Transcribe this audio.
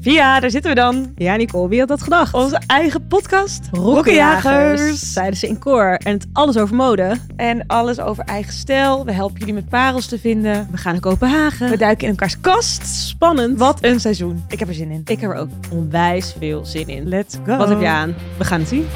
Via, daar zitten we dan. Ja, Nicole, wie had dat gedacht? Onze eigen podcast, Rokkenjagers, Rokkenjagers. zeiden ze in koor. En het alles over mode. En alles over eigen stijl. We helpen jullie met parels te vinden. We gaan naar Kopenhagen. We duiken in elkaars kast. Spannend. Wat een seizoen. Ik heb er zin in. Ik heb er ook onwijs veel zin in. Let's go. Oh. Wat heb je aan? We gaan het zien.